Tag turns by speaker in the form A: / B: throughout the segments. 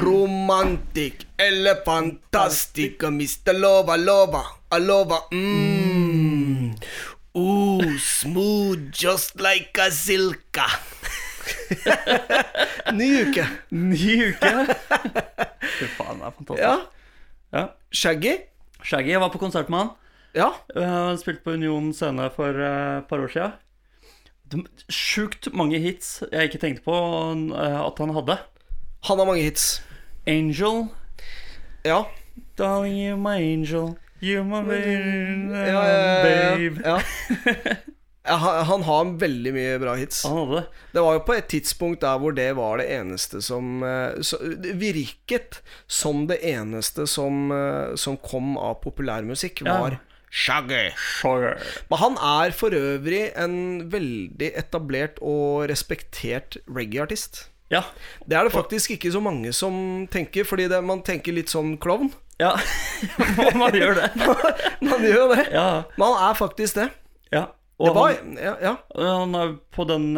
A: Romantic eller fantastic og Mr. Lova Lova Alova mm. Ooh, smooth just like a silka. Ny uke.
B: Ny uke! Fy faen, det er fantastisk.
A: Ja.
B: Ja.
A: Shaggy?
B: Shaggy, jeg var på konsert med han.
A: Ja.
B: Eh, spilte på Union scene for eh, et par år siden. De- Sjukt mange hits jeg ikke tenkte på eh, at han hadde.
A: Han har mange hits.
B: Angel.
A: Ja.
B: Darling, you're my angel. You're my baby.
A: Ja, ja, ja, ja.
B: babe.
A: ja. Ja, han- Han har veldig mye bra hits.
B: Han hadde det.
A: Det var jo på et tidspunkt der hvor det var det eneste som eh, så- Det virket som det eneste som, eh, som kom av populærmusikk,
B: Ja.
A: var Shaggy.
B: Sugar.
A: Men han er for øvrig en veldig etablert og respektert reggae-artist.
B: Ja.
A: Det er det faktisk ikke så mange som tenker, fordi det, man tenker litt sånn klovn.
B: Ja, man gjør det.
A: Man gjør jo det.
B: Ja.
A: Men han er faktisk det.
B: ja. Og eh,
A: Det var Ja. ja,
B: han, han er på den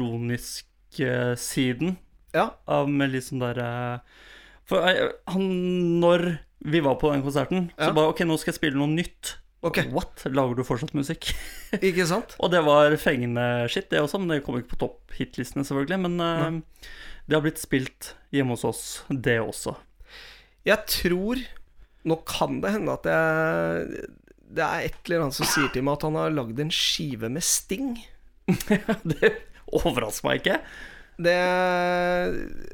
B: elektroniske eh, siden
A: ja.
B: av med litt sånn der eh, For eh, han Når vi var på den konserten,
A: Ja.
B: så bare OK, nå skal jeg spille noe nytt.
A: Ok.
B: What? Lager du fortsatt musikk?
A: Ikke sant?
B: og det var fengende shit, det også, men det kom ikke på topp hitlistene, selvfølgelig. Men eh, det har blitt spilt hjemme hos oss, det også.
A: Jeg tror Nå kan det hende at jeg Det er et eller annet som sier til meg at han har lagd en skive med Sting.
B: det overrasker meg ikke.
A: Det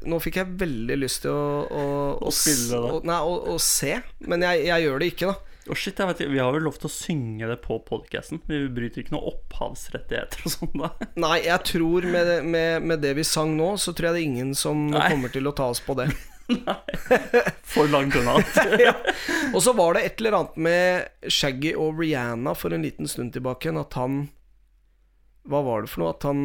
A: Nå fikk jeg veldig lyst til å Å, å s-
B: spille det, da.
A: å- Nei, å, å se. Men jeg, jeg gjør det ikke, da.
B: Og shit, jeg vet ikke, Vi har vel lov til å synge det på podkasten? Vi bryter ikke noen opphavsrettigheter og sånn, da.
A: Nei, jeg tror med, med, med det vi sang nå, så tror jeg det er ingen som
B: Nei.
A: kommer til å ta oss på det.
B: For langt unna.
A: Og så var det et eller annet med Shaggy og Rihanna for en liten stund tilbake igjen, at han Hva var det for noe? At han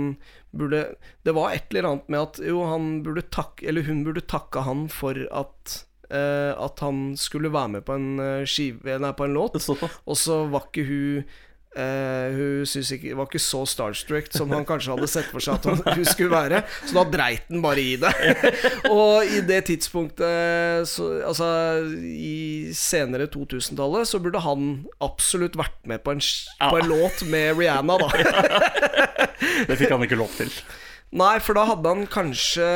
A: burde Det var et eller annet med at jo, han burde takke Eller hun burde takke han for at eh, At han skulle være med på en eh, skive Nei, på en låt.
B: Det står på.
A: Og så var ikke hun eh, hun synes ikke, var ikke så starstruck som han kanskje hadde sett for seg at hun, hun skulle være, så da dreit han bare i det. og i det tidspunktet, så, altså i senere 2000-tallet, så burde han absolutt vært med på en, sk- på en låt med Rihanna, da.
B: Det fikk han ikke lov til.
A: Nei, for da hadde han kanskje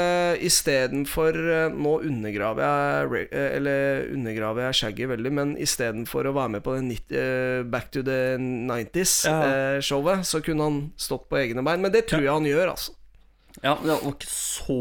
A: istedenfor eh, Nå undergraver jeg Ra- eh, Eller undergraver jeg Shaggy veldig, men istedenfor å være med på den 90, eh, Back to the 90s-showet,
B: Ja.
A: så kunne han stått på egne bein. Men det tror jeg han gjør, altså.
B: Ja, det var ikke så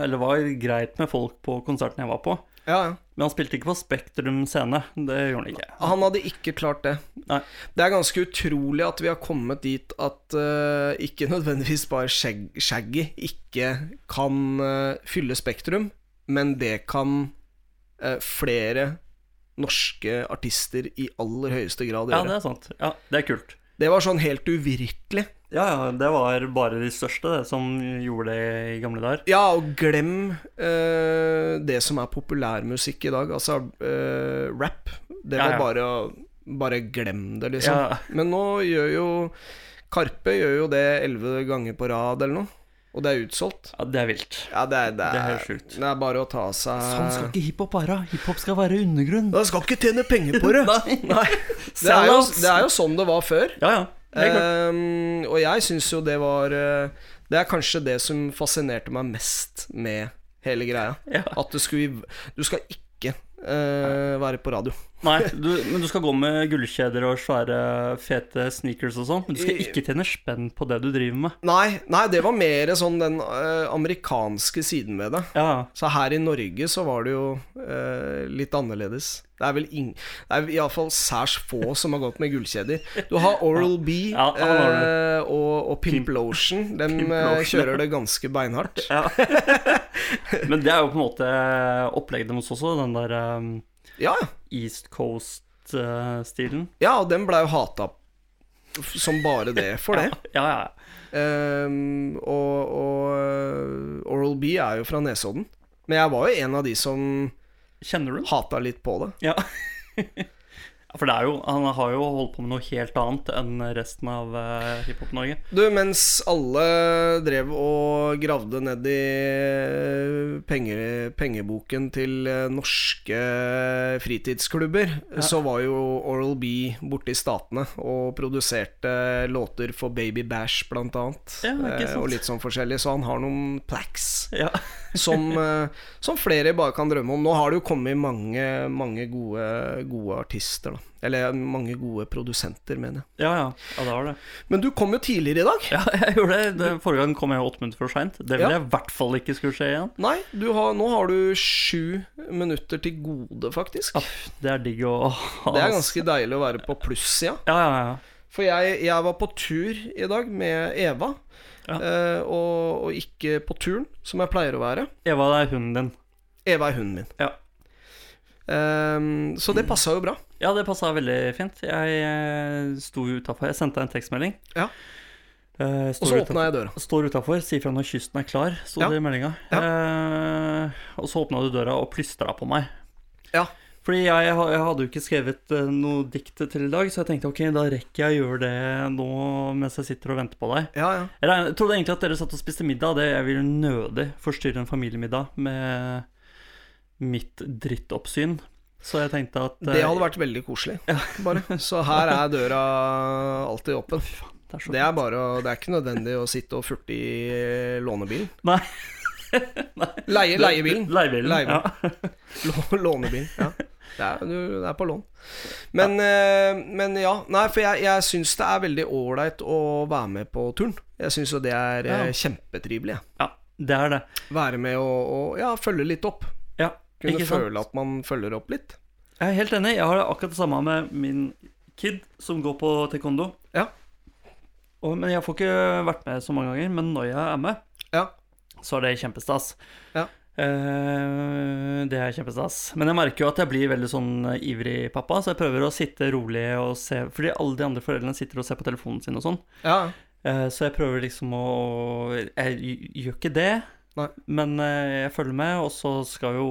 B: Eller det var greit med folk på konserten jeg var på.
A: Ja, ja.
B: Men han spilte ikke på Spektrum scene. Det gjorde han ikke.
A: Han hadde ikke klart det.
B: Nei.
A: Det er ganske utrolig at vi har kommet dit at eh, ikke nødvendigvis bare Shag Shaggy ikke kan eh, fylle Spektrum, men det kan eh, flere norske artister i aller høyeste grad
B: Ja,
A: gjøre.
B: det er sant. Ja, Det er kult.
A: det... var sånn helt uvirkelig.
B: Ja, ja, det var bare de største det, som gjorde det i gamle dager.
A: Ja, og glem eh, det som er populærmusikk i dag, altså eh, rap. Det
B: Ja,
A: var
B: ja.
A: bare å Bare glem det, liksom.
B: Ja.
A: Men nå gjør jo Karpe gjør jo det elleve ganger på rad eller noe, og det er utsolgt.
B: Ja, Det er vilt.
A: Ja, det er, det
B: Det er
A: er,
B: helt sjukt.
A: det er bare å ta seg
B: Sånn skal ikke hiphop være. Hiphop skal være undergrunn.
A: Man skal ikke tjene penger på det!
B: Nei.
A: Det er, jo, det er jo sånn det var før.
B: Ja, ja. Det er klart.
A: Ehm, og jeg syns jo det var eh, Det er kanskje det som fascinerte meg mest med hele greia.
B: Ja.
A: At du skulle Du skal ikke eh, være på radio.
B: Nei, du, men du skal gå med gullkjeder og svære, fete sneakers og sånn. Men du skal ikke tjene spenn på det du driver med.
A: Nei, nei det var mer sånn den eh, amerikanske siden ved det.
B: Ja,
A: Så her i Norge så var det jo eh, litt annerledes. Det er vel ing... Det er iallfall særs få som har gått med gullkjeder. Du har Oral B
B: Ja, han har
A: eh, og, og Pimp Lotion. De
B: Pimp
A: eh,
B: Lotion.
A: kjører det ganske beinhardt.
B: Men det er jo på en måte opplegget deres også, den der um,
A: Ja, ja.
B: East Coast-stilen.
A: Ja, og den blei jo hata f- som bare det for det.
B: ja, ja.
A: Ehm, og og Oral B er jo fra Nesodden. Men jeg var jo en av de som
B: Kjenner du den?
A: hata litt på det.
B: Ja. For det er jo, han har jo holdt på med noe helt annet enn resten av eh, Hiphop-Norge.
A: Du, mens alle drev og gravde ned i eh, penger, pengeboken til eh, norske fritidsklubber, så var jo Oral B borte i Statene og produserte låter for Baby Bash, blant annet.
B: Ja, ikke
A: eh,
B: sant.
A: og litt sånn forskjellig. Så han har noen plaques
B: Ja.
A: som, eh, som flere bare kan drømme om. Nå har det jo kommet mange, mange gode, gode artister, da. Eller eh, mange gode produsenter, mener jeg.
B: ja, ja. Ja, det var det.
A: Men du kom jo tidligere i dag.
B: Ja, jeg gjorde det. det. Forrige gang kom jeg jo åtte minutter for seint. Det ville
A: Ja.
B: jeg i hvert fall ikke skulle skje igjen.
A: Nei, du har, nå har du sju minutter til gode, faktisk.
B: Aff, det er digg å ha.
A: Det er ganske deilig å være på plussida.
B: Ja, ja, ja.
A: For jeg, jeg var på tur i dag med Eva,
B: Ja.
A: eh, og, og ikke på turen, som jeg pleier å være.
B: Eva, det er hunden din.
A: Eva er hunden min.
B: Ja.
A: Ehm, så det passa jo bra.
B: Ja, det passa veldig fint. Jeg eh, sto utafor. Jeg sendte deg en tekstmelding.
A: Ja.
B: Eh, står
A: Og så
B: utenfor-
A: åpna jeg døra.
B: Står utafor, sier fra når kysten er klar, sto
A: Ja.
B: det i meldinga. Eh, og så åpna du døra og plystra på meg.
A: Ja.
B: Fordi jeg, ha- jeg hadde jo ikke skrevet eh, noe dikt til i dag, så jeg tenkte ok, da rekker jeg å gjøre det nå mens jeg sitter og venter på deg.
A: Ja, ja.
B: Jeg regner- trodde egentlig at dere satt og spiste middag, det jeg ville nødig forstyrre en familiemiddag med mitt drittoppsyn. Så jeg tenkte at eh,
A: Det hadde vært veldig koselig, bare. Så her er døra alltid åpen.
B: det er så
A: Det er, bare, å- det er ikke nødvendig å sitte og furte i lånebilen.
B: Nei.
A: Leie, leiebilen.
B: Leiebilen.
A: Leiebilen.
B: Ja.
A: Lå- Lånebil, ja. Det er, du, det er på lån. Men ja, men ja nei, for jeg, jeg syns det er veldig ålreit å være med på turen. Jeg syns jo det er eh,
B: Ja.
A: kjempetrivelig. jeg.
B: ja, det er det.
A: Være med og, og ja, følge litt opp.
B: Ja,
A: Kunne
B: ikke sant?
A: føle at man følger opp litt.
B: Jeg er helt enig. Jeg har det akkurat det samme med min kid som går på taekwondo.
A: Ja.
B: Og, men jeg får ikke vært med så mange ganger. Men når jeg er med,
A: Ja.
B: så er det kjempestas.
A: Ja.
B: Eh, det er kjempestas. Men jeg merker jo at jeg blir veldig sånn ivrig pappa, så jeg prøver å sitte rolig og se Fordi alle de andre foreldrene sitter og ser på telefonen sin og sånn.
A: Ja,
B: Eh, Så jeg prøver liksom å Jeg gj- gjør ikke det,
A: Nei.
B: men eh, jeg følger med. Og så skal jo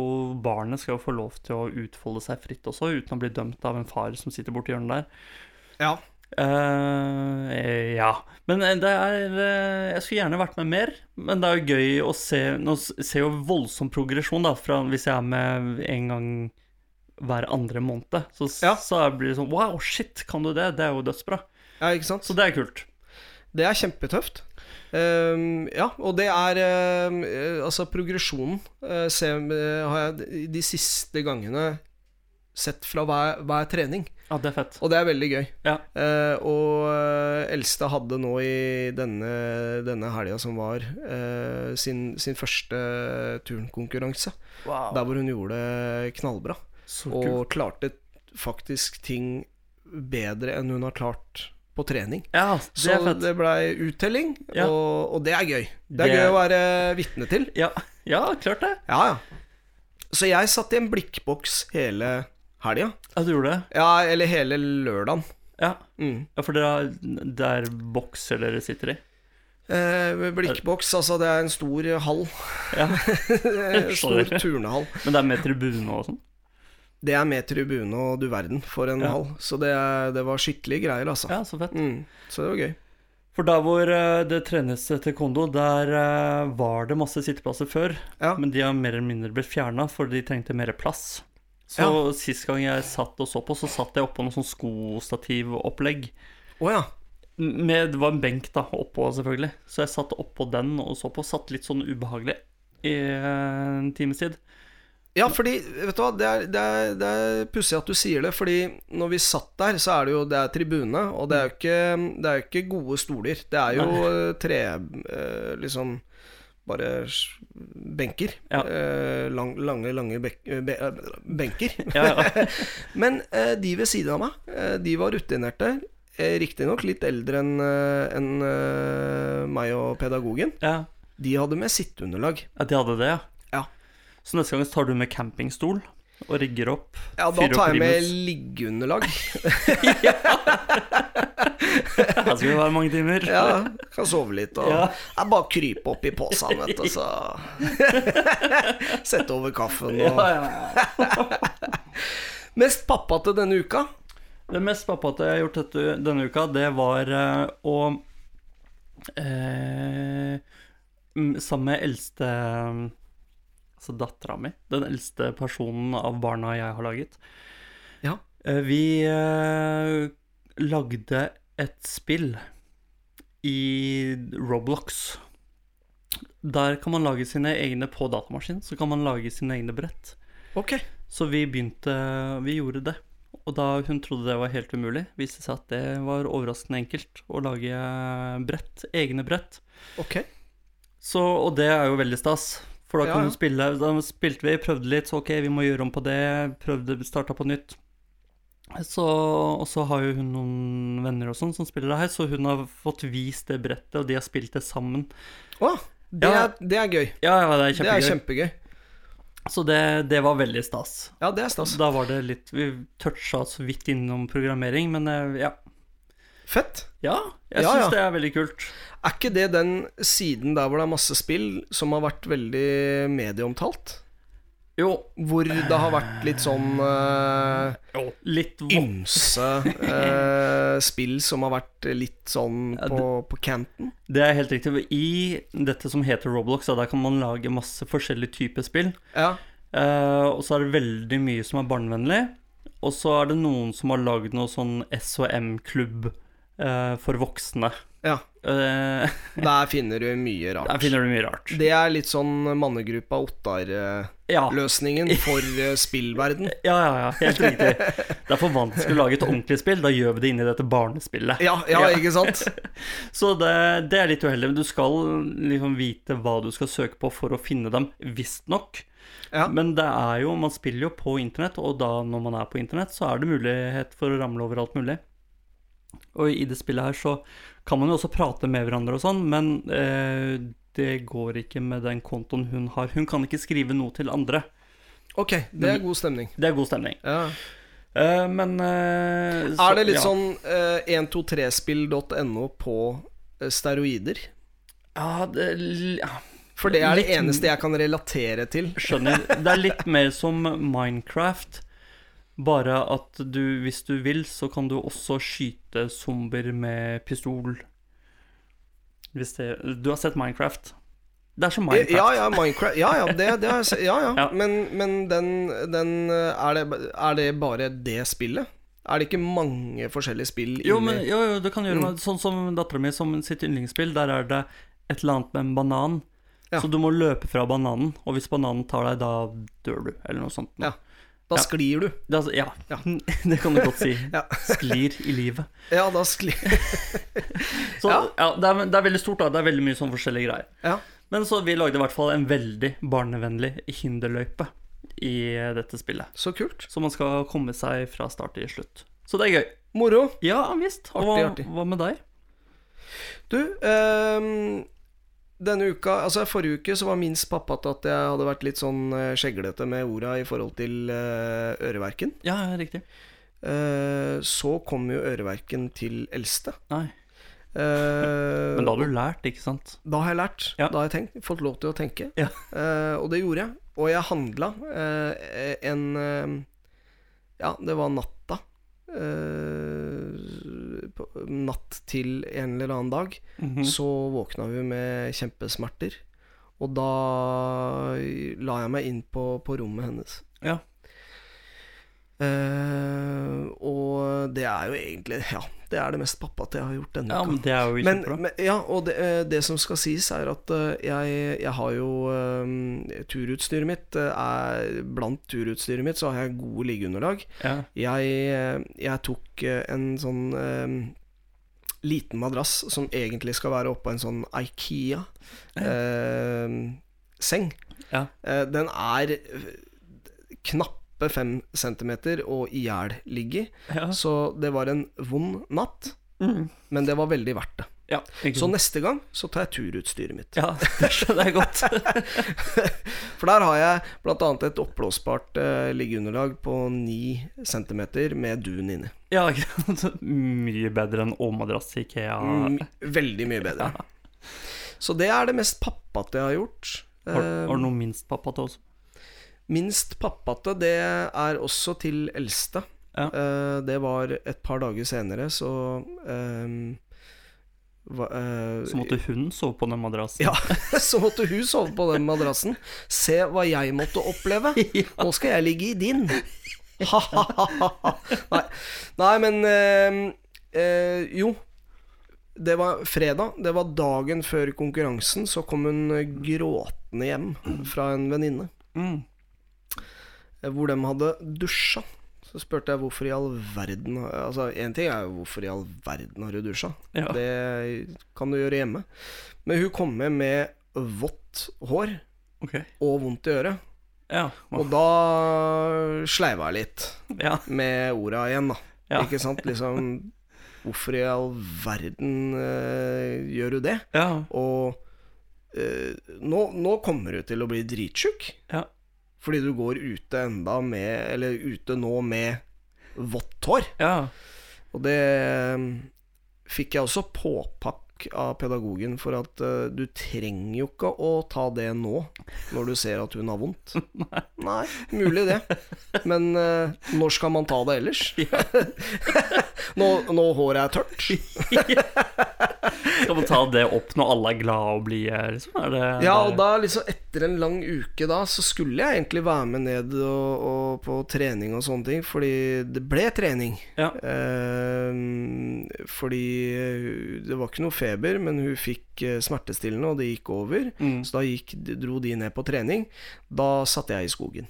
B: barnet skal jo få lov til å utfolde seg fritt også, uten å bli dømt av en far som sitter borti hjørnet der.
A: ja.
B: Eh, ja. Men eh, det er eh, Jeg skulle gjerne vært med mer, men det er jo gøy å se Nå s- ser jo voldsom progresjon, da, fra hvis jeg er med en gang hver andre måned. Så, s-
A: Ja.
B: så blir det sånn Wow, shit, kan du det? Det er jo dødsbra.
A: ja ikke sant?
B: Så det er kult.
A: Det er kjempetøft. Ehm, ja, og det er ehm, eh, Altså, progresjonen eh, se, eh, har jeg de- de siste gangene sett fra hver, hver trening.
B: Ja, det er fett.
A: Og det er veldig gøy.
B: Ja.
A: Eh, og eh, eldste hadde nå i denne, denne helga som var, eh, sin, sin første turnkonkurranse.
B: Wow.
A: Der hvor hun gjorde det knallbra.
B: Så
A: Og klarte faktisk ting bedre enn hun har klart på trening.
B: Ja, det
A: Så
B: er fett.
A: det blei uttelling,
B: Ja.
A: og, og det er gøy. Det er
B: Det-
A: gøy å være vitne til.
B: Ja, ja klart det.
A: Ja, ja. Så jeg satt i en blikkboks hele helga.
B: Ja, du gjorde det.
A: Ja, eller hele lørdagen.
B: Ja,
A: Mm.
B: ja for dere har Det er bokser dere sitter i.
A: Eh, blikkboks, altså det er en stor hall.
B: Ja.
A: stor turnehall.
B: Men det er med tribune og sånn?
A: Det er med tribune og du verden for en
B: Ja.
A: hall. Så det, er- det var skikkelige greier, altså.
B: Ja, så fett.
A: Mm, så det var gøy.
B: For der hvor eh, det trenes taekwondo, der eh, var det masse sitteplasser før.
A: Ja.
B: Men de har mer eller mindre blitt fjerna, for de trengte mer plass. Så sist gang jeg satt og så på, så satt jeg oppå noe sånn skostativopplegg.
A: Å ja.
B: Med, det var en benk da, oppå selvfølgelig. Så jeg satt oppå den og så på. Satt litt sånn ubehagelig i eh, en times tid.
A: Ja, fordi, vet du hva, det er, det er, det er pussig at du sier det, fordi når vi satt der, så er det jo det er tribune, og det er
B: Mm.
A: jo ikke, det er jo ikke gode stoler. Det er jo eh, tre eh, liksom bare s- benker.
B: Ja.
A: Eh, lang, lange, lange bek, be, eh, benker.
B: Ja, ja.
A: Men eh, de ved siden av meg, eh, de var rutinerte. eh, Riktignok litt eldre enn eh, enn, eh, meg og pedagogen.
B: ja.
A: De hadde med sitteunderlag.
B: Ja, de hadde det, ja.
A: Ja.
B: Så neste gang så tar du med campingstol og rigger opp.
A: Ja, da
B: fyrer opp
A: tar jeg med
B: primus.
A: liggeunderlag.
B: Her skal vi være mange timer.
A: Ja, kan sove litt og
B: Ja.
A: ja, bare krype opp i posen, vet du, så Sette over kaffen og
B: Ja, ja.
A: Mest pappa til denne uka.
B: Det mest pappate jeg har gjort dette, denne uka, det var eh, å eh, mm, Sammen med eldste Altså dattera mi. Den eldste personen av barna jeg har laget.
A: Ja.
B: Eh, vi eh, lagde et spill i Roblox. Der kan man lage sine egne på datamaskin. Så kan man lage sine egne brett.
A: Ok.
B: Så vi begynte Vi gjorde det. Og da hun trodde det var helt umulig, viste det seg at det var overraskende enkelt å lage eh, brett. Egne brett.
A: ok
B: Så, og det er jo veldig stas. For da
A: Ja,
B: kan
A: ja.
B: du spille Da spilte vi, prøvde litt, så ok, vi må gjøre om på det. Prøvde, starta på nytt. Så, og så har jo hun noen venner og sånn som spiller det her, så hun har fått vist det brettet, og de har spilt det sammen.
A: Å, det,
B: Ja.
A: er, det er gøy.
B: Ja, ja, det er
A: Det er
B: kjempegøy.
A: kjempegøy.
B: Så det, det var veldig stas.
A: Ja, det er stas.
B: Da var det litt Vi toucha så vidt innom programmering, men eh, ja.
A: Fett.
B: Ja, jeg
A: Ja,
B: syns
A: ja.
B: det er veldig kult.
A: Er ikke det den siden der hvor det er masse spill som har vært veldig medieomtalt?
B: Jo.
A: Hvor det har vært litt sånn eh,
B: Litt vått.
A: ymse eh, spill som har vært litt sånn
B: Ja, det-
A: på, på canten?
B: Det er helt riktig. I dette som heter Roblox, da, der kan man lage masse forskjellige typer spill.
A: Ja.
B: Eh, og så er det veldig mye som er barnevennlig. Og så er det noen som har lagd noe sånn SHM-klubb eh, for voksne.
A: ja.
B: Eh,
A: Der finner du mye rart.
B: der finner du mye rart.
A: Det er litt sånn mannegruppa Ottar-løsningen
B: Ja. Ah.
A: for eh, spillverden.
B: Ja, ja, ja, helt riktig. Det er for vanskelig å lage et ordentlig spill. Da gjør vi det inni dette barnespillet.
A: Ja, ja,
B: Ja.
A: ikke sant?
B: Så det, det er litt uheldig, men du skal liksom vite hva du skal søke på for å finne dem, visstnok.
A: Ja.
B: Men det er jo, man spiller jo på internett, og da når man er på internett, så er det mulighet for å ramle over alt mulig. Og i det spillet her så kan man jo også prate med hverandre og sånn, men eh, det går ikke med den kontoen hun har. Hun kan ikke skrive noe til andre.
A: Ok, det er god stemning.
B: Det er god stemning.
A: Ja.
B: Eh, men eh, så-
A: Er det litt
B: ja.
A: sånn eh, 123spill.no på eh, steroider?
B: Ja, det, ja,
A: For det er det
B: Litt-
A: eneste jeg kan relatere til.
B: Skjønner. Det er litt mer som Minecraft. Bare at du, hvis du vil, så kan du også skyte zombier med pistol. Hvis det Du har sett Minecraft? Det er som
A: Ja,
B: Minecraft.
A: ja, Minecraft Ja, ja, det, det har jeg sett. Ja, ja.
B: Ja.
A: Men, men den, den eh, er, det, er det bare det spillet? Er det ikke mange forskjellige spill
B: Jo,
A: inni-
B: men jo, jo, du kan gjøre
A: Mm.
B: det. Sånn som dattera mi, som sitt yndlingsspill, der er det et eller annet med en banan.
A: Ja.
B: Så du må løpe fra bananen, og hvis bananen tar deg, da dør du, eller noe sånt.
A: Ja. Da sklir du.
B: Det er altså- ja.
A: Ja.
B: det kan du godt si.
A: Ja.
B: Sklir i livet.
A: Ja, da sklir
B: Så ja,
A: Ja.
B: det, er, det er veldig stort, da. Det er veldig mye sånn forskjellige greier.
A: Ja.
B: Men så vi lagde i hvert fall en veldig barnevennlig hinderløype i eh, dette spillet.
A: Så kult.
B: Så man skal komme seg fra start til slutt. Så det er gøy.
A: Moro.
B: Ja visst. Og hva,
A: Artig, artig.
B: hva med deg?
A: Du, ehm, denne uka, altså forrige uke, så var minst pappa til at jeg hadde vært litt sånn eh, skjeglete med orda i forhold til eh, øreverken.
B: Ja, riktig.
A: Eh, så kom jo øreverken til eldste.
B: Nei.
A: Eh,
B: Men da har du lært, ikke sant?
A: da har jeg lært.
B: Ja.
A: Da har jeg tenkt, fått lov til å tenke.
B: Ja.
A: Eh, og det gjorde jeg. Og jeg handla eh, en eh, Ja, det var natta. Eh, på, natt til en eller annen dag.
B: Mhm.
A: Så våkna vi med kjempesmerter. Og da la jeg meg inn på, på rommet hennes.
B: Ja.
A: Eh, og det er jo egentlig Ja, det er det mest pappate jeg har gjort denne
B: Ja,
A: uka.
B: men det er jo
A: Men,
B: kjempebra.
A: men ja, og det, eh, det som skal sies, er at eh, jeg, jeg har jo eh, Turutstyret mitt eh, er Blant turutstyret mitt så har jeg gode liggeunderlag.
B: Ja.
A: Jeg, eh, jeg tok eh, en sånn eh, liten madrass som egentlig skal være oppå en sånn Ikea-seng.
B: Ja.
A: den er eh, knappe fem centimeter og i hjel ligge,
B: Ja.
A: så det var en vond natt.
B: Mm.
A: Men det var veldig verdt det.
B: ja. Ikke
A: Så
B: sant?
A: neste gang så tar jeg turutstyret mitt.
B: Ja, det skjønner jeg godt.
A: For der har jeg bl.a. et oppblåsbart eh, liggeunderlag på 9 cm med dun inni.
B: Ja, ikke sant? Mye bedre enn Åmadrass i Ikea.
A: Mm, veldig mye bedre. Så det er det mest pappate jeg har gjort.
B: Har,
A: Eh,
B: har du noe minst pappa til også?
A: Minst pappate, det er også til eldste.
B: Ja.
A: Eh, det var et par dager senere, så ehm, hva, eh,
B: Så måtte hun sove på den madrassen.
A: ja, så måtte hun sove på den madrassen. Se hva jeg måtte oppleve. Nå skal jeg ligge i din. Ha-ha-ha. Nei. Nei, men eh, eh, Jo. Det var fredag. Det var dagen før konkurransen. Så kom hun eh, gråtende hjem fra en venninne
B: Mm.
A: eh, hvor de hadde dusja. Så spurte jeg hvorfor i all verden Altså, én ting er jo hvorfor i all verden har du dusja?
B: Ja.
A: Det kan du gjøre hjemme. Men hun kom med med vått hår
B: Ok.
A: og vondt i øret.
B: Ja.
A: Og da sleiva jeg litt
B: ja.
A: med orda igjen, da.
B: Ja.
A: Ikke sant? Liksom Hvorfor i all verden eh, gjør du det?
B: Ja.
A: Og eh, nå, nå kommer du til å bli dritsjuk.
B: Ja.
A: Fordi du går ute enda med Eller ute nå med vått hår.
B: ja.
A: Og det eh, fikk jeg også påpakk av pedagogen for at eh, du trenger jo ikke å ta det nå, når du ser at hun har vondt. Nei, mulig det. Men eh, når skal man ta det ellers? når, når håret er tørt?
B: Skal man ta det opp når alle er glade og blide, liksom? Er det
A: Ja,
B: det er-
A: og da liksom etter en lang uke da, så skulle jeg egentlig være med ned og, og på trening og sånne ting, fordi det ble trening.
B: ja.
A: Ehm, fordi eh, det var ikke noe feber, men hun fikk eh, smertestillende, og det gikk over.
B: Mm.
A: Så da gikk, dro de ned på trening. Da satt jeg i skogen.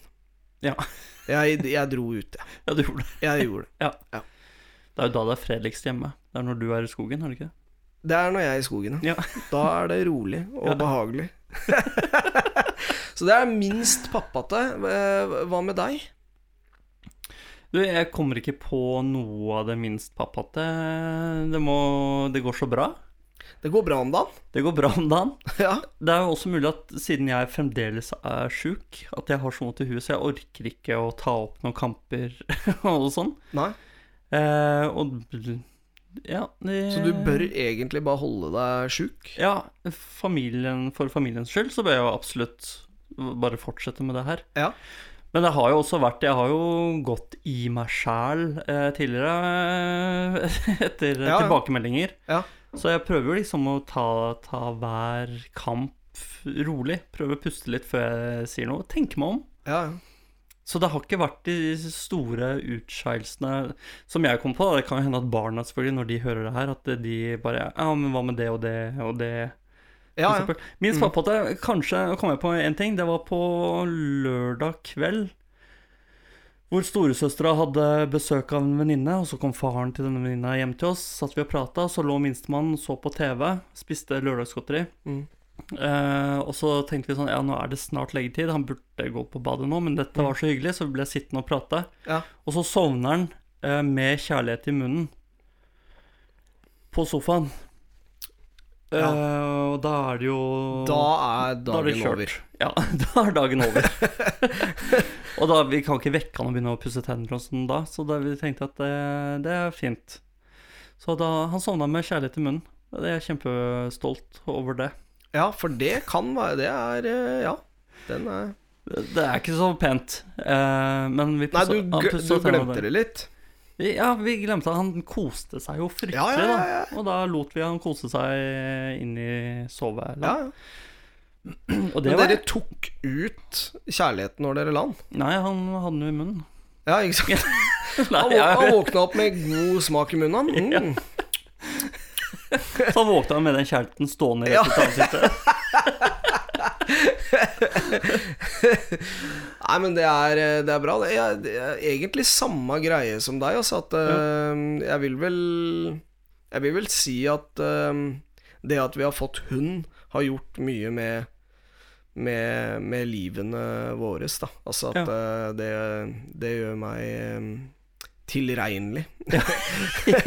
B: Ja.
A: Jeg, jeg dro ut, jeg.
B: ja, du gjorde det.
A: Jeg gjorde det.
B: Det er jo da det er fredeligst hjemme. Det er når du er i skogen, er det ikke det?
A: Det er når jeg er i skogen,
B: Ja.
A: Da er det rolig og
B: Ja.
A: behagelig. så det er minst pappate. Eh, Hva med deg?
B: Du, jeg kommer ikke på noe av det minst pappate. Det må Det går så bra.
A: Det går bra om dagen.
B: Det går bra om dagen.
A: Ja.
B: Det er jo også mulig at siden jeg fremdeles er sjuk, at jeg har så vondt i huet, så jeg orker ikke å ta opp noen kamper og sånn.
A: Nei.
B: Eh, og ja det-
A: Så du bør egentlig bare holde deg sjuk?
B: Ja, familien, for familiens skyld så bør jeg jo absolutt bare fortsette med det her.
A: Ja.
B: Men det har jo også vært Jeg har jo gått i meg sjæl eh, tidligere, eh, etter
A: Ja, ja.
B: tilbakemeldinger.
A: Ja.
B: Så jeg prøver jo liksom å ta, ta hver kamp rolig. Prøve å puste litt før jeg sier noe. Tenke meg om.
A: Ja.
B: Så det har ikke vært de store utskeielsene som jeg kom på. Det kan jo hende at barna, selvfølgelig, når de hører det her, at de bare Ja, men hva med det og det og det?
A: ja, Mm. ja.
B: for eksempel. Minst pappate, kanskje nå kom jeg på en ting. Det var på lørdag kveld. Hvor storesøstera hadde besøk av en venninne, og så kom faren til denne venninna hjem til oss. Satt vi og prata, så lå minstemann, så på TV, spiste lørdagsgodteri.
A: Mm.
B: Eh, og så tenkte vi sånn, ja nå er det snart leggetid, han burde gå på badet nå, men dette var så hyggelig, så vi ble sittende og prate.
A: Ja.
B: Og så sovner han eh, med kjærlighet i munnen. På sofaen.
A: Ja.
B: Eh, og da er det jo
A: Da er
B: da er det
A: dagen
B: kjørt.
A: over.
B: Ja, da er dagen over. og da, vi kan ikke vekke han og begynne å pusse tenner og sånn da, så da vi tenkte at det, det er fint. Så da, han sovna med kjærlighet i munnen. Jeg er kjempestolt over det.
A: Ja, for det kan være Det er eh, Ja. Den er
B: Det er ikke så pent, eh, men vi
A: Nei,
B: pussa-
A: du,
B: han
A: gl-
B: pussa
A: du
B: tennene
A: glemte
B: der.
A: det litt.
B: Ja, vi glemte det. Han koste seg jo fryktelig,
A: Ja, ja, ja, ja.
B: da. Og da lot vi han kose seg inn i soveland.
A: Ja, ja.
B: Og det
A: Men
B: var
A: dere tok ut kjærligheten når dere land?
B: Nei, han hadde den jo i munnen.
A: Ja, ikke sant?
B: Nei,
A: Han, vå
B: jeg-
A: han våkna opp med god smak i munnen. han. Mm.
B: Så våkna han med den kjærligheten stående rett ut av ansiktet.
A: Nei, men det er, det er bra. Det er, det er egentlig samme greie som deg. Altså at eh, jeg vil vel Jeg vil vel si at eh, det at vi har fått hund, har gjort mye med med, med livene våre, da. Altså at eh, det, det gjør meg eh, tilregnelig.
B: Det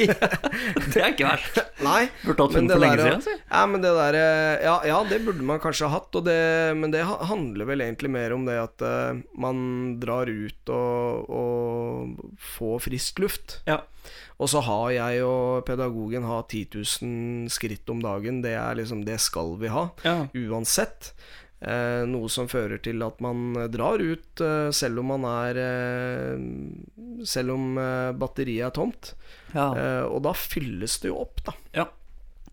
B: er ikke verst.
A: Nei,
B: Burde
A: Men
B: hatt hund for
A: det
B: lenge
A: der,
B: siden. altså. si.
A: Ja, men det der, eh, ja, ja, det burde man kanskje ha hatt, og det, men det ha- handler vel egentlig mer om det at eh, man drar ut og, og får frisk luft.
B: Ja.
A: Og så har jeg og pedagogen har 10 000 skritt om dagen, det er liksom, det skal vi ha,
B: Ja.
A: uansett. Eh, noe som fører til at man drar ut, eh, selv om man er eh, selv om eh, batteriet er tomt.
B: Ja,
A: Eh, og da fylles det jo opp, da.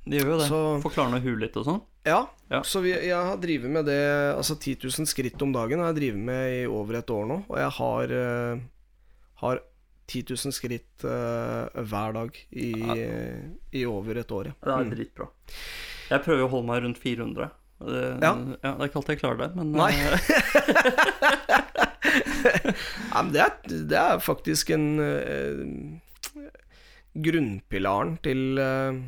B: det gjør jo det.
A: så-
B: Får klarne huet litt og sånn.
A: Ja.
B: Ja.
A: Så vi, jeg har drevet med det Altså 10 000 skritt om dagen har jeg drevet med i over et år nå. Og jeg har, eh, har 10 000 skritt eh, hver dag i, i over et år,
B: Det
A: ja. Mm.
B: er dritbra. Jeg prøver å holde meg rundt 400. og Det, ja.
A: Ja.
B: det er ikke alltid jeg klarer det, men
A: Nei.
B: eh,
A: Ja, men det, er, det er faktisk en eh, Grunnpilaren til, eh,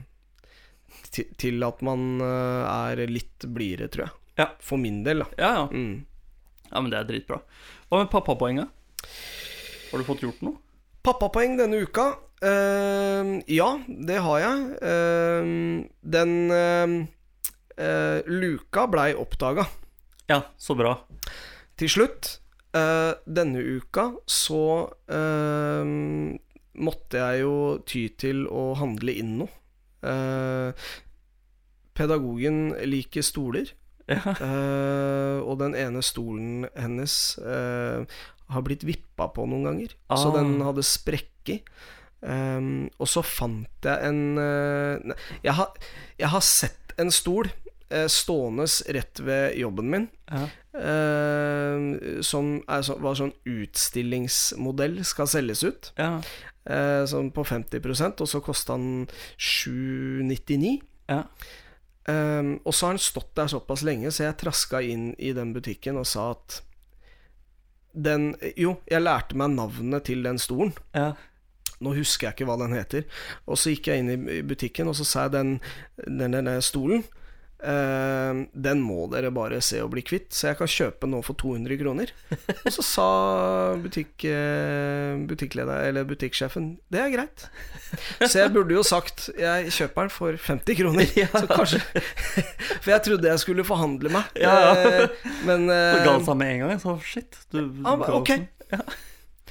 A: til Til at man eh, er litt blidere, tror jeg.
B: Ja.
A: For min del, da.
B: ja, ja.
A: Mm.
B: ja, men det er dritbra. Hva med pappapoenget? Har du fått gjort noe?
A: Pappapoeng denne uka. Ehm, ja, det har jeg. Ehm, den ehm, eh, luka blei oppdaga
B: Ja, så bra.
A: til slutt. Eh, denne uka så ehm, måtte jeg jo ty til å handle inn noe. Eh, pedagogen liker stoler.
B: Ja.
A: Eh, og den ene stolen hennes eh, har blitt vippa på noen ganger, så
B: Ah.
A: den hadde sprekker. Um, og så fant jeg en eh, nei, jeg, har, jeg har sett en stol eh, stående rett ved jobben min,
B: Ja.
A: eh, som er så, var sånn utstillingsmodell, skal selges ut,
B: Ja.
A: eh, sånn på 50 og så kosta den 799.
B: Ja.
A: Um, og så har den stått der såpass lenge, så jeg traska inn i den butikken og sa at den Jo, jeg lærte meg navnet til den stolen.
B: ja.
A: Nå husker jeg ikke hva den heter. Og så gikk jeg inn i- i butikken, og så sa jeg den, den, den, den stolen eh, Den må dere bare se og bli kvitt, så jeg kan kjøpe nå for 200 kroner. Og så sa butikk, eh, butikkleder, eller butikksjefen det er greit. Så jeg burde jo sagt jeg kjøper den for 50 kroner.
B: Ja.
A: Så kanskje For jeg trodde jeg skulle forhandle meg,
B: Ja, ja.
A: Eh, men
B: Så
A: eh,
B: ga han seg med en gang. Jeg sa shit. Du,
A: han ba,
B: ga oss
A: ok.
B: den. Ja.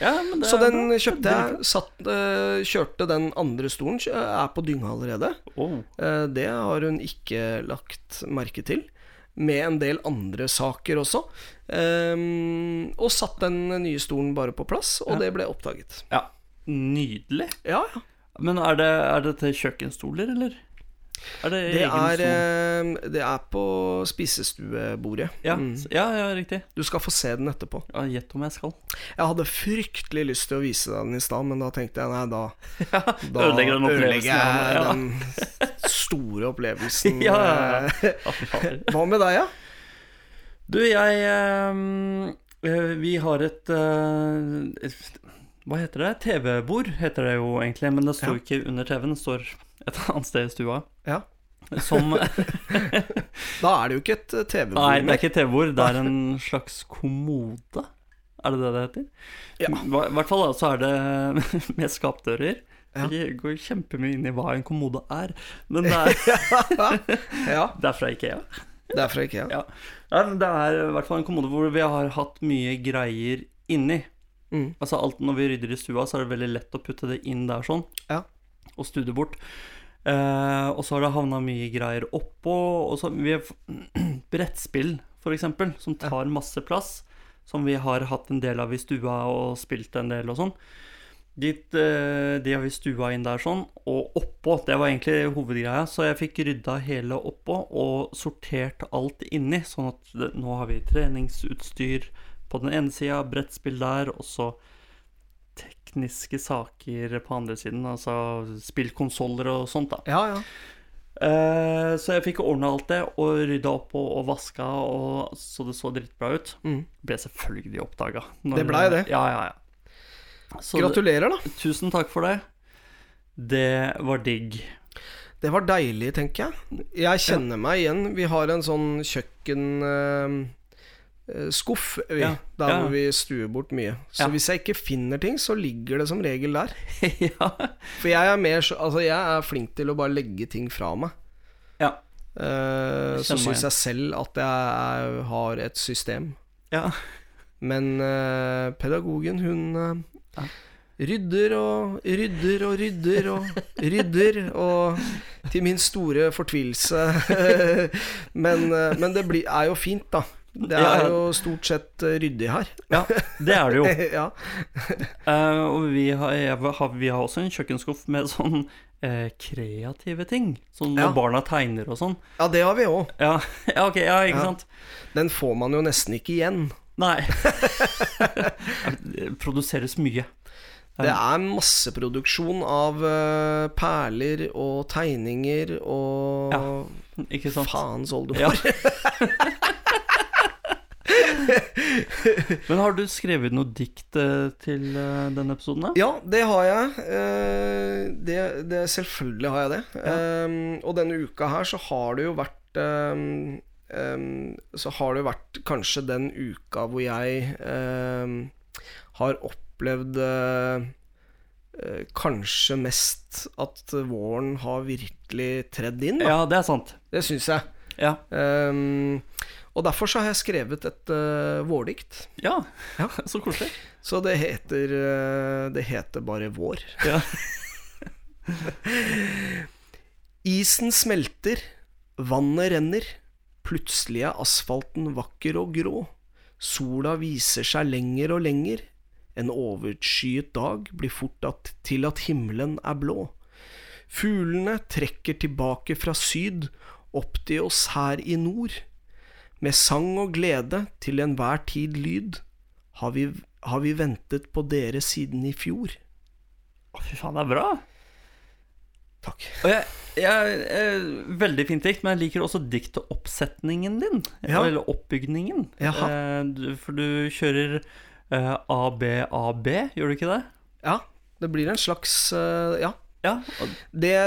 B: Ja, men det
A: Så
B: er
A: den
B: bra.
A: kjøpte
B: Det er
A: jeg, satt, eh, kjørte den andre stolen, kjø- er på dynga allerede.
B: bra. Oh.
A: Eh, det har hun ikke lagt merke til. Med en del andre saker også. Ehm, og satt den nye stolen bare på plass, og det ble oppdaget.
B: Ja. Nydelig.
A: Ja, ja.
B: Men er det, er det til kjøkkenstoler, eller? Er det,
A: Det
B: egen
A: er,
B: stol?
A: eh, det er på spisestuebordet.
B: Ja,
A: Mm.
B: s- ja, ja, riktig.
A: Du skal få se den etterpå.
B: Ja, Gjett om jeg skal.
A: Jeg hadde fryktelig lyst til å vise deg den i stad, men da tenkte jeg nei, da
B: Ja,
A: Da
B: ødelegger den opplevelsen.
A: jeg
B: ja.
A: den store opplevelsen.
B: Ja, ja, ja.
A: eh,
B: Ja, fy fader.
A: Hva med deg, ja?
B: Du, jeg ehm, eh, Vi har et eh, Hva heter det? TV-bord heter det jo egentlig, men det
A: Ja.
B: står ikke under TV-en. Det står et annet sted i stua.
A: Ja.
B: Som
A: Da er det jo ikke et eh,
B: Nei,
A: TV-bord
B: det er ikke et TV-bord. Det er en slags kommode. Er det det det heter?
A: Ja.
B: Hva- I hvert fall da, så er det med skapdører.
A: Ja.
B: Jeg går kjempemye inn i hva en kommode er, men det er,
A: Ja,
B: det er fra Ikea.
A: det er fra IKEA.
B: Ja. Nei, men det er i hvert fall en kommode hvor vi har hatt mye greier inni.
A: Mm.
B: Altså alt Når vi rydder i stua, så er det veldig lett å putte det inn der sånn,
A: Ja.
B: og stude bort. Eh, og så har det havna mye greier oppå. Og så vi har f- brettspill, for eksempel, som tar masse plass. Som vi har hatt en del av i stua og spilt en del og sånn. Dit, eh, de har vi stua inn der sånn, og oppå, det var egentlig hovedgreia, så jeg fikk rydda hele oppå og sortert alt inni, sånn at det, nå har vi treningsutstyr på den ene sida, brettspill der, og så tekniske saker på andre siden, altså spillkonsoller og sånt da.
A: Ja, ja.
B: Eh, så jeg fikk ordna alt det, og rydda opp og, og vaska, og så det så dritbra ut.
A: Mm.
B: Ble selvfølgelig oppdaga.
A: Det ble det.
B: Ja, ja, ja. Så det-
A: Gratulerer, da.
B: Tusen takk for det. Det var digg.
A: Det var deilig, tenker jeg. Jeg kjenner meg igjen. Vi har en sånn kjøkkenskuff, vi,
B: Ja,
A: der
B: ja.
A: hvor vi stuer bort mye. Så
B: Ja.
A: hvis jeg ikke finner ting, så ligger det som regel der.
B: ja.
A: For jeg er, mer, så- altså, jeg er flink til å bare legge ting fra meg.
B: ja.
A: Eh,
B: Jeg
A: så
B: kjenner meg
A: syns jeg selv at jeg er, har et system.
B: Ja.
A: Men eh, pedagogen, hun eh,
B: Ja.
A: rydder og rydder og rydder og rydder, og til min store fortvilelse. men, eh, men det blir, er jo fint, da. Det er
B: Ja.
A: jo stort sett eh, ryddig her.
B: Ja, det er det jo.
A: ja.
B: Eh, og vi har, jeg har, vi har også en kjøkkenskuff med sånn eh, kreative ting. Sånn når
A: Ja.
B: barna tegner og sånn.
A: ja, det har vi òg.
B: Ja, ja ok, ja, ikke
A: Ja.
B: sant?
A: Den får man jo nesten ikke igjen.
B: Nei. det produseres mye.
A: Det er masseproduksjon av eh, perler og tegninger og
B: Ja, Ikke sant?
A: Faens
B: Ja.
A: oldefar.
B: Men har du skrevet noe dikt eh, til eh, denne episoden? da?
A: Ja, det har jeg. Eh, Det, det, selvfølgelig har jeg det. Eh, Og denne uka her så har det jo vært eh, eh, Så har det jo vært kanskje den uka hvor jeg eh, har opplevd eh, eh, Kanskje mest at våren har virkelig tredd inn. Da.
B: Ja, det er sant.
A: Det syns jeg.
B: Ja.
A: Eh, og derfor så har jeg skrevet et eh, vårdikt.
B: ja.
A: Ja.
B: Så koselig.
A: Så det heter, eh, det heter bare vår.
B: Ja.
A: Isen smelter, vannet renner. Plutselig er asfalten vakker og grå. Sola viser seg lenger og lenger. En overskyet dag blir fort at, til at himmelen er blå. Fuglene trekker tilbake fra syd, opp til oss her i nord. Med sang og glede til enhver tid lyd, har vi, har vi ventet på dere siden i fjor.
B: Å, fy faen, det er bra.
A: Takk.
B: Og jeg, jeg, eh, veldig fint dikt, men jeg liker også diktoppsetningen din.
A: Ja.
B: Eller oppbygningen.
A: Jaha.
B: Eh, du- for du kjører eh, ABAB, gjør du ikke det?
A: Ja, det blir en slags eh, Ja.
B: Ja, og,
A: Det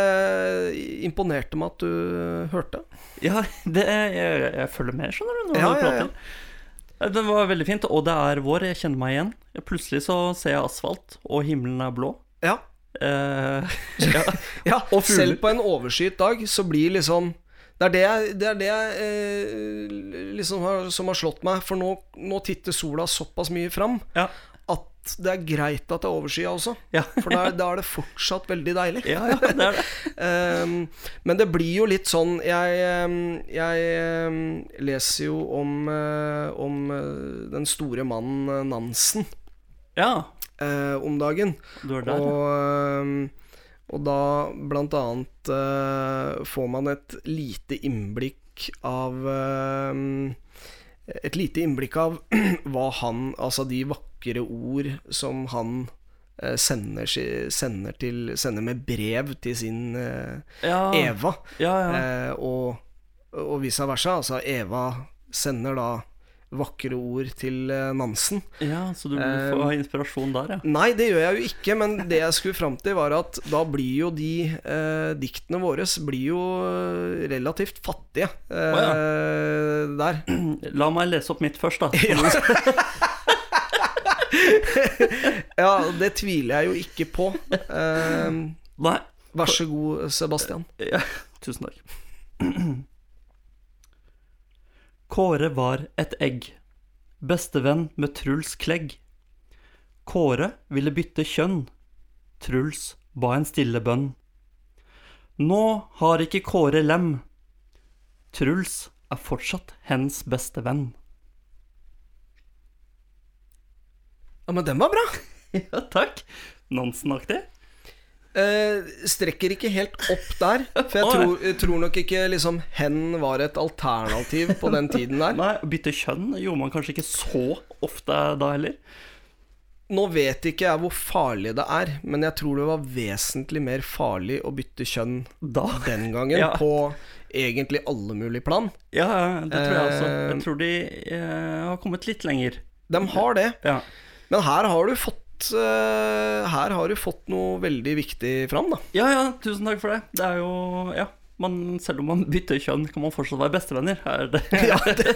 A: imponerte meg at du hørte.
B: ja det, jeg, jeg følger med, skjønner du. Når
A: Ja,
B: du
A: ja, ja.
B: prater. Eh, Det var veldig fint, og det er vår. Jeg kjenner meg igjen. Plutselig så ser jeg asfalt, og himmelen er blå.
A: Ja.
B: Eh, ja.
A: ja
B: Og fugler.
A: selv på en overskyet dag, så blir liksom det er det jeg, det er det jeg eh, liksom har, som har slått meg, for nå, nå titter sola såpass mye fram
B: Ja.
A: at det er greit at det er overskya også.
B: Ja.
A: For da er- da er det fortsatt veldig deilig.
B: ja, ja, det er det.
A: Ehm, men det blir jo litt sånn Jeg, ehm, jeg ehm, leser jo om, eh, om eh, den store mannen eh, Nansen
B: Ja,
A: eh, om dagen.
B: du er der.
A: Og, ehm, og da blant annet eh, får man et lite innblikk av ehm, Et lite innblikk av hva han Altså de vakre ord som han eh, sender, si- sender, til, sender med brev til sin eh,
B: ja, ja,
A: Eva.
B: Ah, ja.
A: Eh, og, og vice versa. Altså, Eva sender da vakre ord til eh, Nansen.
B: ja, så du
A: eh,
B: får inspirasjon der, ja.
A: Nei, det gjør jeg jo ikke, men det jeg skulle fram til, var at da blir jo de eh, diktene våre blir jo eh, relativt fattige eh, der.
B: La meg lese opp mitt først, da.
A: Ja, det tviler jeg jo ikke på. Eh,
B: Nei.
A: vær så god, Sebastian.
B: Ja, tusen takk. Kåre var et egg. Bestevenn med Truls Klegg. Kåre ville bytte kjønn. Truls ba en stille bønn. Nå har ikke Kåre lem. Truls er fortsatt hens beste venn.
A: Ja, men den var bra!
B: Ja, takk. Nansen-aktig.
A: Eh, strekker ikke helt opp der, for jeg
B: Å,
A: tror, jeg tror nok ikke liksom hen var et alternativ på den tiden der.
B: Nei, bytte kjønn gjorde man kanskje ikke så ofte da heller.
A: Nå vet ikke jeg hvor farlig det er, men jeg tror det var vesentlig mer farlig å bytte kjønn
B: Da.
A: den gangen,
B: Ja.
A: på egentlig alle mulige plan.
B: Ja, ja, det tror jeg også. Jeg
A: Eh,
B: tror de eh, har kommet litt lenger.
A: De har det.
B: Ja.
A: Men her har du fått eh, Her har du fått noe veldig viktig fram, da.
B: ja, ja, tusen takk for det. Det er jo Ja. Man, selv om man bytter kjønn, kan man fortsatt være bestevenner. Er det?
A: Ja, det,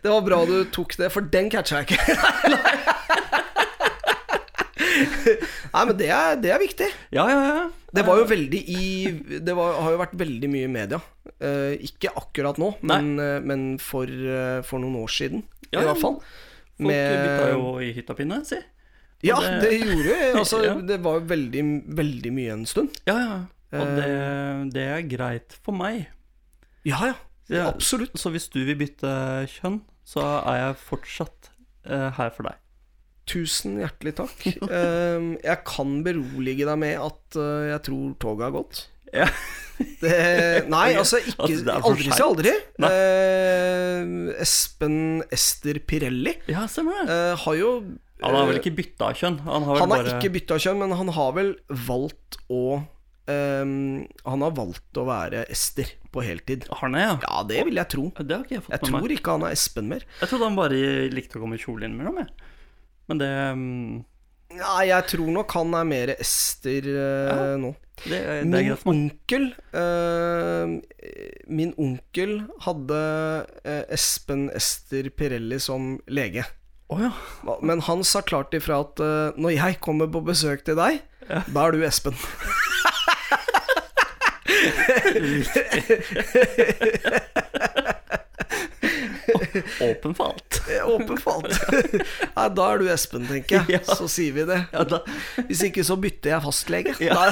A: det var bra du tok det, for den catcha jeg ikke. Nei, men det er, det er viktig.
B: Ja, ja, ja.
A: Det var jo
B: Eh.
A: veldig i Det var, har jo vært veldig mye i media. Eh, ikke akkurat nå, men, eh, men for, eh, for noen år siden,
B: Ja,
A: i
B: ja,
A: hvert fall.
B: Folk bytta jo i hytta pinne, si.
A: Ja,
B: det-
A: det gjorde jeg. Altså,
B: Ja.
A: Det var jo veldig, veldig mye en stund. Eh.
B: Ja, ja. Og det, det er greit for meg.
A: Ja, ja.
B: Ja,
A: Absolutt.
B: Så hvis du vil bytte kjønn, så er jeg fortsatt eh, her for deg.
A: Tusen hjertelig takk. Ehm, jeg kan berolige deg med at eh, jeg tror toget har gått.
B: Ja.
A: Det, nei, altså ikke
B: At det er for
A: Aldri si aldri. Ehm, Espen Ester Pirelli
B: Ja, stemmer det.
A: eh, har jo
B: Han har vel ikke bytta kjønn? Han har vel
A: Han har
B: bare
A: ikke bytta kjønn, men han har vel valgt å ehm, Han har valgt å være Ester på heltid.
B: Har han det, ja?
A: Ja, det vil jeg tro.
B: Det har ikke jeg fått
A: Jeg
B: med meg.
A: tror ikke han er Espen mer.
B: Jeg trodde han bare likte å komme i kjole innimellom, jeg. Men det, mm,
A: Nei, jeg tror nok han er mer Ester eh, nå.
B: det, det er
A: Min
B: greit for meg.
A: onkel eh, Min onkel hadde eh, Espen Ester Pirelli som lege.
B: Å ja.
A: Men han sa klart ifra at eh, når jeg kommer på besøk til deg, da er du Espen.
B: Åpen for alt.
A: Det er Åpen for alt. Nei, da er du Espen, tenker jeg.
B: Ja.
A: Så sier vi det.
B: Ja, da,
A: Hvis ikke så bytter jeg fastlege.
B: Ja.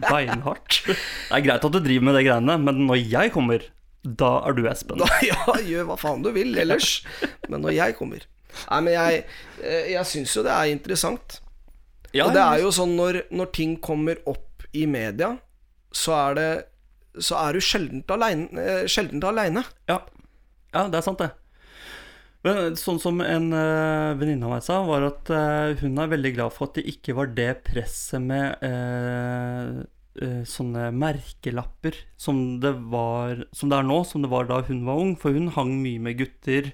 B: beinhardt. Det er greit at du driver med de greiene, men når jeg kommer, da er du Espen.
A: Da, ja, gjør hva faen du vil ellers. Men når jeg kommer Nei, men jeg, eh, jeg syns jo det er interessant.
B: Ja,
A: og det er jo sånn når, når ting kommer opp i media, så er det så er du sjeldent aleine. eh, Sjeldent aleine.
B: Ja. ja, det er sant, det. Men sånn som en uh, venninne av meg sa, var at eh, hun er veldig glad for at det ikke var det presset med eh, eh, sånne merkelapper som det, var, som det er nå, som det var da hun var ung. For hun hang mye med gutter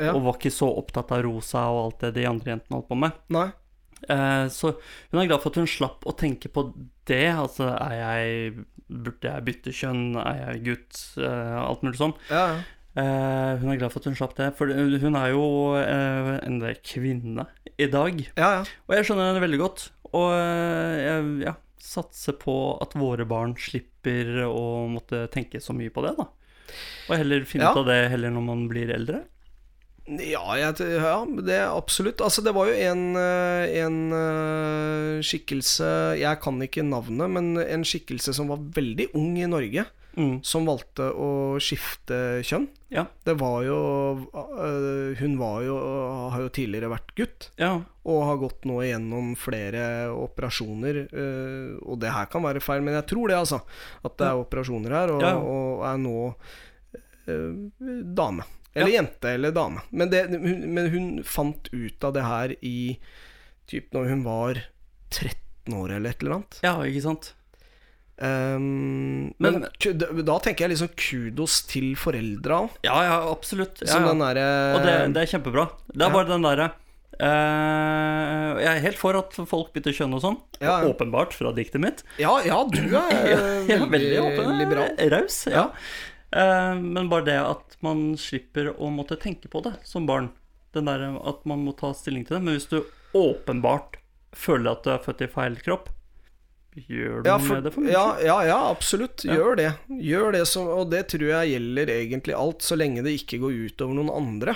A: Ja.
B: og var ikke så opptatt av rosa og alt det de andre jentene holdt på med.
A: Nei.
B: Eh, så hun er glad for at hun slapp å tenke på det. Altså, er jeg, burde jeg bytte kjønn? Er jeg gutt? Eh, alt mulig sånn.
A: Ja, ja.
B: Eh, hun er glad for at hun slapp det, for hun er jo eh, en kvinne i dag.
A: ja, ja.
B: Og jeg skjønner henne veldig godt. Og eh, jeg ja, satser på at våre barn slipper å måtte tenke så mye på det, da. Og heller finne
A: Ja.
B: ut av det heller når man blir eldre.
A: Ja, jeg, t- ja det er absolutt. Altså, det var jo en, eh, en eh, skikkelse Jeg kan ikke navnet, men en skikkelse som var veldig ung i Norge,
B: Mm.
A: som valgte å skifte kjønn.
B: Ja.
A: Det var jo eh, Hun var jo har jo tidligere vært gutt,
B: Ja.
A: og har gått nå igjennom flere operasjoner. eh, Og det her kan være feil, men jeg tror det, altså. At det er operasjoner her, og,
B: Ja.
A: og er nå eh, dame. Eller jente eller dame. Men, det, hun, men hun fant ut av det her i typ når hun var 13 år eller et eller annet.
B: ja, ikke sant.
A: Ehm, men,
B: Men-
A: ku- da tenker jeg liksom kudos til foreldra òg.
B: Ja, ja, absolutt. Ja,
A: Som
B: ja.
A: den eh, derre
B: Og det, det er kjempebra. Det er
A: ja.
B: bare den derre eh, Jeg er helt for at folk bytter kjønn og sånn.
A: Ja, ja.
B: Åpenbart fra diktet mitt.
A: ja, ja, du er
B: Ja,
A: eh,
B: ja,
A: veldig
B: åpen, eh,
A: liberal.
B: Raus. Ja. Eh, men bare det at man slipper å måtte tenke på det som barn. Den der at man må ta stilling til det. Men hvis du åpenbart føler at du er født i feil kropp, gjør du
A: Ja,
B: noe
A: for,
B: med det for mye.
A: ja, ja, ja, absolutt. Gjør det. Gjør det som, og det tror jeg gjelder egentlig alt, så lenge det ikke går utover noen andre.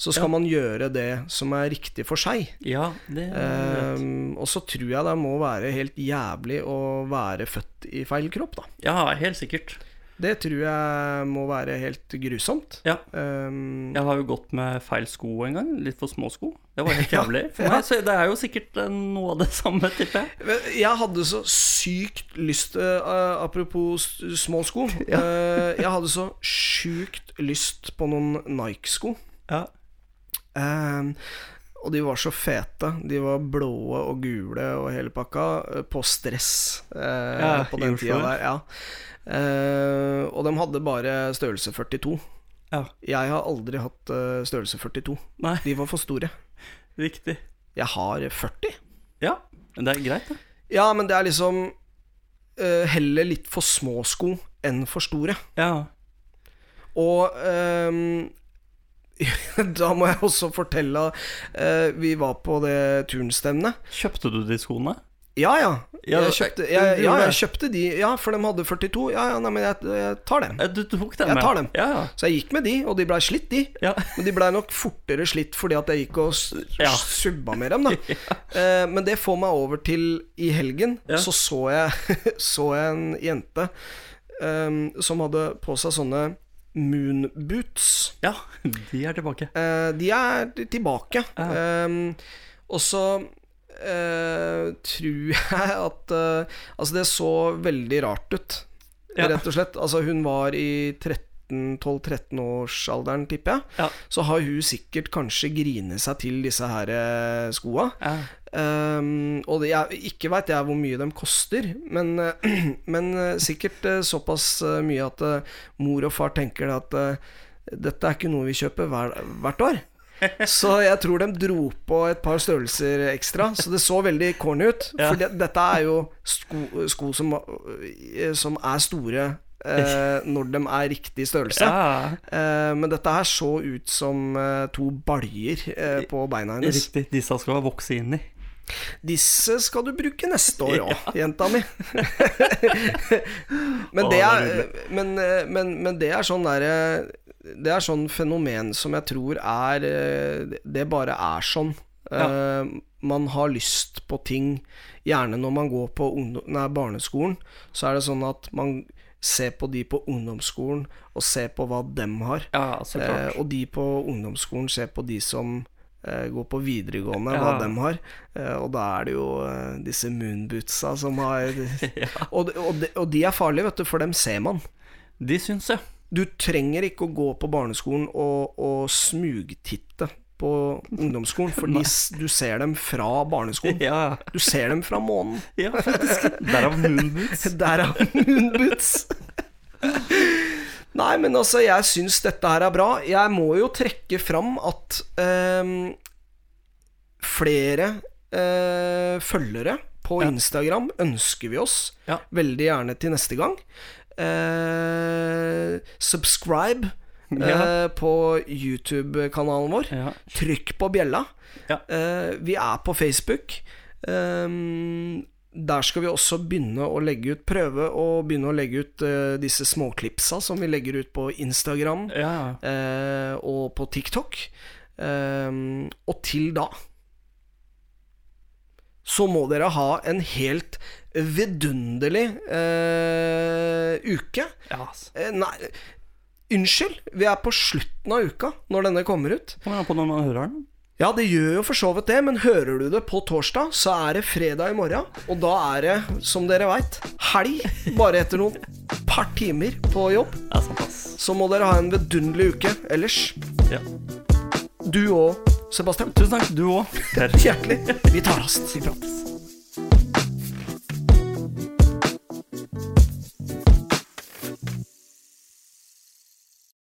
A: Så skal man gjøre det som er riktig for seg.
B: Ja, det
A: Ehm, og så tror jeg det må være helt jævlig å være født i feil kropp, da.
B: Ja, helt sikkert.
A: Det tror jeg må være helt grusomt.
B: Ja.
A: Ehm,
B: Jeg har jo gått med feil sko en gang. Litt for små sko. Det var helt jævlig for
A: ja.
B: meg. Så det er jo sikkert eh, noe av det samme, tipper jeg.
A: Men Jeg hadde så sykt lyst eh, eh, Apropos s- små sko. eh, jeg hadde så sjukt lyst på noen Nike-sko.
B: Ja.
A: Eh, og de var så fete. De var blåe og gule og hele pakka eh, på stress eh,
B: Ja,
A: på
B: i
A: den
B: Oslo,
A: tida
B: ja.
A: der. Ja. Eh, og de hadde bare størrelse 42.
B: ja.
A: Jeg har aldri hatt eh, størrelse 42.
B: Nei,
A: De var for store.
B: riktig.
A: Jeg har 40.
B: Ja, men det er greit, det.
A: Ja, men det er liksom eh, heller litt for små sko enn for store.
B: Ja.
A: Og ehm, da må jeg også fortelle eh, Vi var på det turnstevnet.
B: Kjøpte du de skoene?
A: Ja, ja.
B: Ja,
A: jeg,
B: det-
A: kjøpte,
B: du
A: jeg, ja,
B: gjorde
A: jeg
B: det.
A: kjøpte de. Ja, for de hadde 42. Ja, ja, nei, men jeg, jeg tar dem.
B: Eh, Du tok dem
A: Jeg
B: med?
A: tar dem.
B: Ja, ja.
A: Så jeg gikk med de, og de blei slitt, de.
B: Ja.
A: Men de blei nok fortere slitt fordi at jeg gikk og s-
B: Ja.
A: subba med dem, da. Eh, men det får meg over til i helgen.
B: Ja.
A: Så så jeg, så jeg en jente eh, som hadde på seg sånne moonboots.
B: Ja, de er tilbake.
A: Eh, de er t- tilbake.
B: Ja.
A: Ehm, og så eh, tror jeg at eh, Altså, det så veldig rart ut,
B: Ja.
A: rett og slett. Altså, hun var i 12-13-årsalderen, tipper jeg.
B: Ja.
A: Så har hun sikkert kanskje grinet seg til disse her eh, skoa.
B: Ja.
A: Ehm, og det, jeg, ikke veit jeg hvor mye de koster, men, eh, men eh, sikkert eh, såpass eh, mye at eh, mor og far tenker at eh, dette er ikke noe vi kjøper hver, hvert år. Så jeg tror de dro på et par størrelser ekstra, så det så veldig corny ut.
B: Ja.
A: For det, dette er jo sko, sko som, eh, som er store eh, når de er riktig størrelse.
B: Ja,
A: Eh, men dette her så ut som eh, to baljer eh, på beina hennes.
B: riktig. Disse skal man vokse inn i.
A: Disse skal du bruke neste år òg, jenta mi. men, det
B: Å, det er
A: er, men, men, men det er sånn derre Det er sånn fenomen som jeg tror er eh, Det bare er sånn. Eh, man har lyst på ting. Gjerne når man går på ungdom, nei, barneskolen, så er det sånn at man ser på de på ungdomsskolen, og ser på hva dem har.
B: Ja, så klart.
A: Eh, og de på ungdomsskolen ser på de som eh, går på videregående, hva
B: Ja.
A: dem har. Eh, og da er det jo eh, disse moonbootsa som har og, de- og, de, og de er farlige, vet du, for dem ser man.
B: De syns jeg.
A: Du trenger ikke å gå på barneskolen og, og smugtitte på ungdomsskolen, for de, s- du ser dem fra barneskolen.
B: Ja,
A: Du ser dem fra månen.
B: ja faktisk. Derav moonboots.
A: Der er moonboots. Nei, men altså, jeg syns dette her er bra. Jeg må jo trekke fram at ehm, flere eh, følgere på
B: Ja.
A: Instagram ønsker vi oss
B: Ja.
A: veldig gjerne til neste gang. Eh, subscribe
B: Ja.
A: eh, på YouTube-kanalen vår.
B: Ja.
A: Trykk på bjella.
B: Ja.
A: Eh, vi er på Facebook. Ehm, der skal vi også begynne å legge ut prøve å begynne å legge ut eh, disse småklipsa som vi legger ut på Instagram
B: ja.
A: eh, og på TikTok. Ehm, og til da så må dere ha en helt vidunderlig eh, uke.
B: ja. ass.
A: Eh, nei, unnskyld. Vi er på slutten av uka når denne kommer ut.
B: Kommer an på når man hører den.
A: Ja, det gjør jo for så vidt det, men hører du det på torsdag, så er det fredag i morgen. Og da er det, som dere veit, helg. Bare etter noen par timer på jobb.
B: Det er sant, ass.
A: Så må dere ha en vidunderlig uke ellers.
B: Ja.
A: Du og Sebastian.
B: Tusen takk, du òg. Per.
A: Hjertelig. Vi tar oss. Vi prates.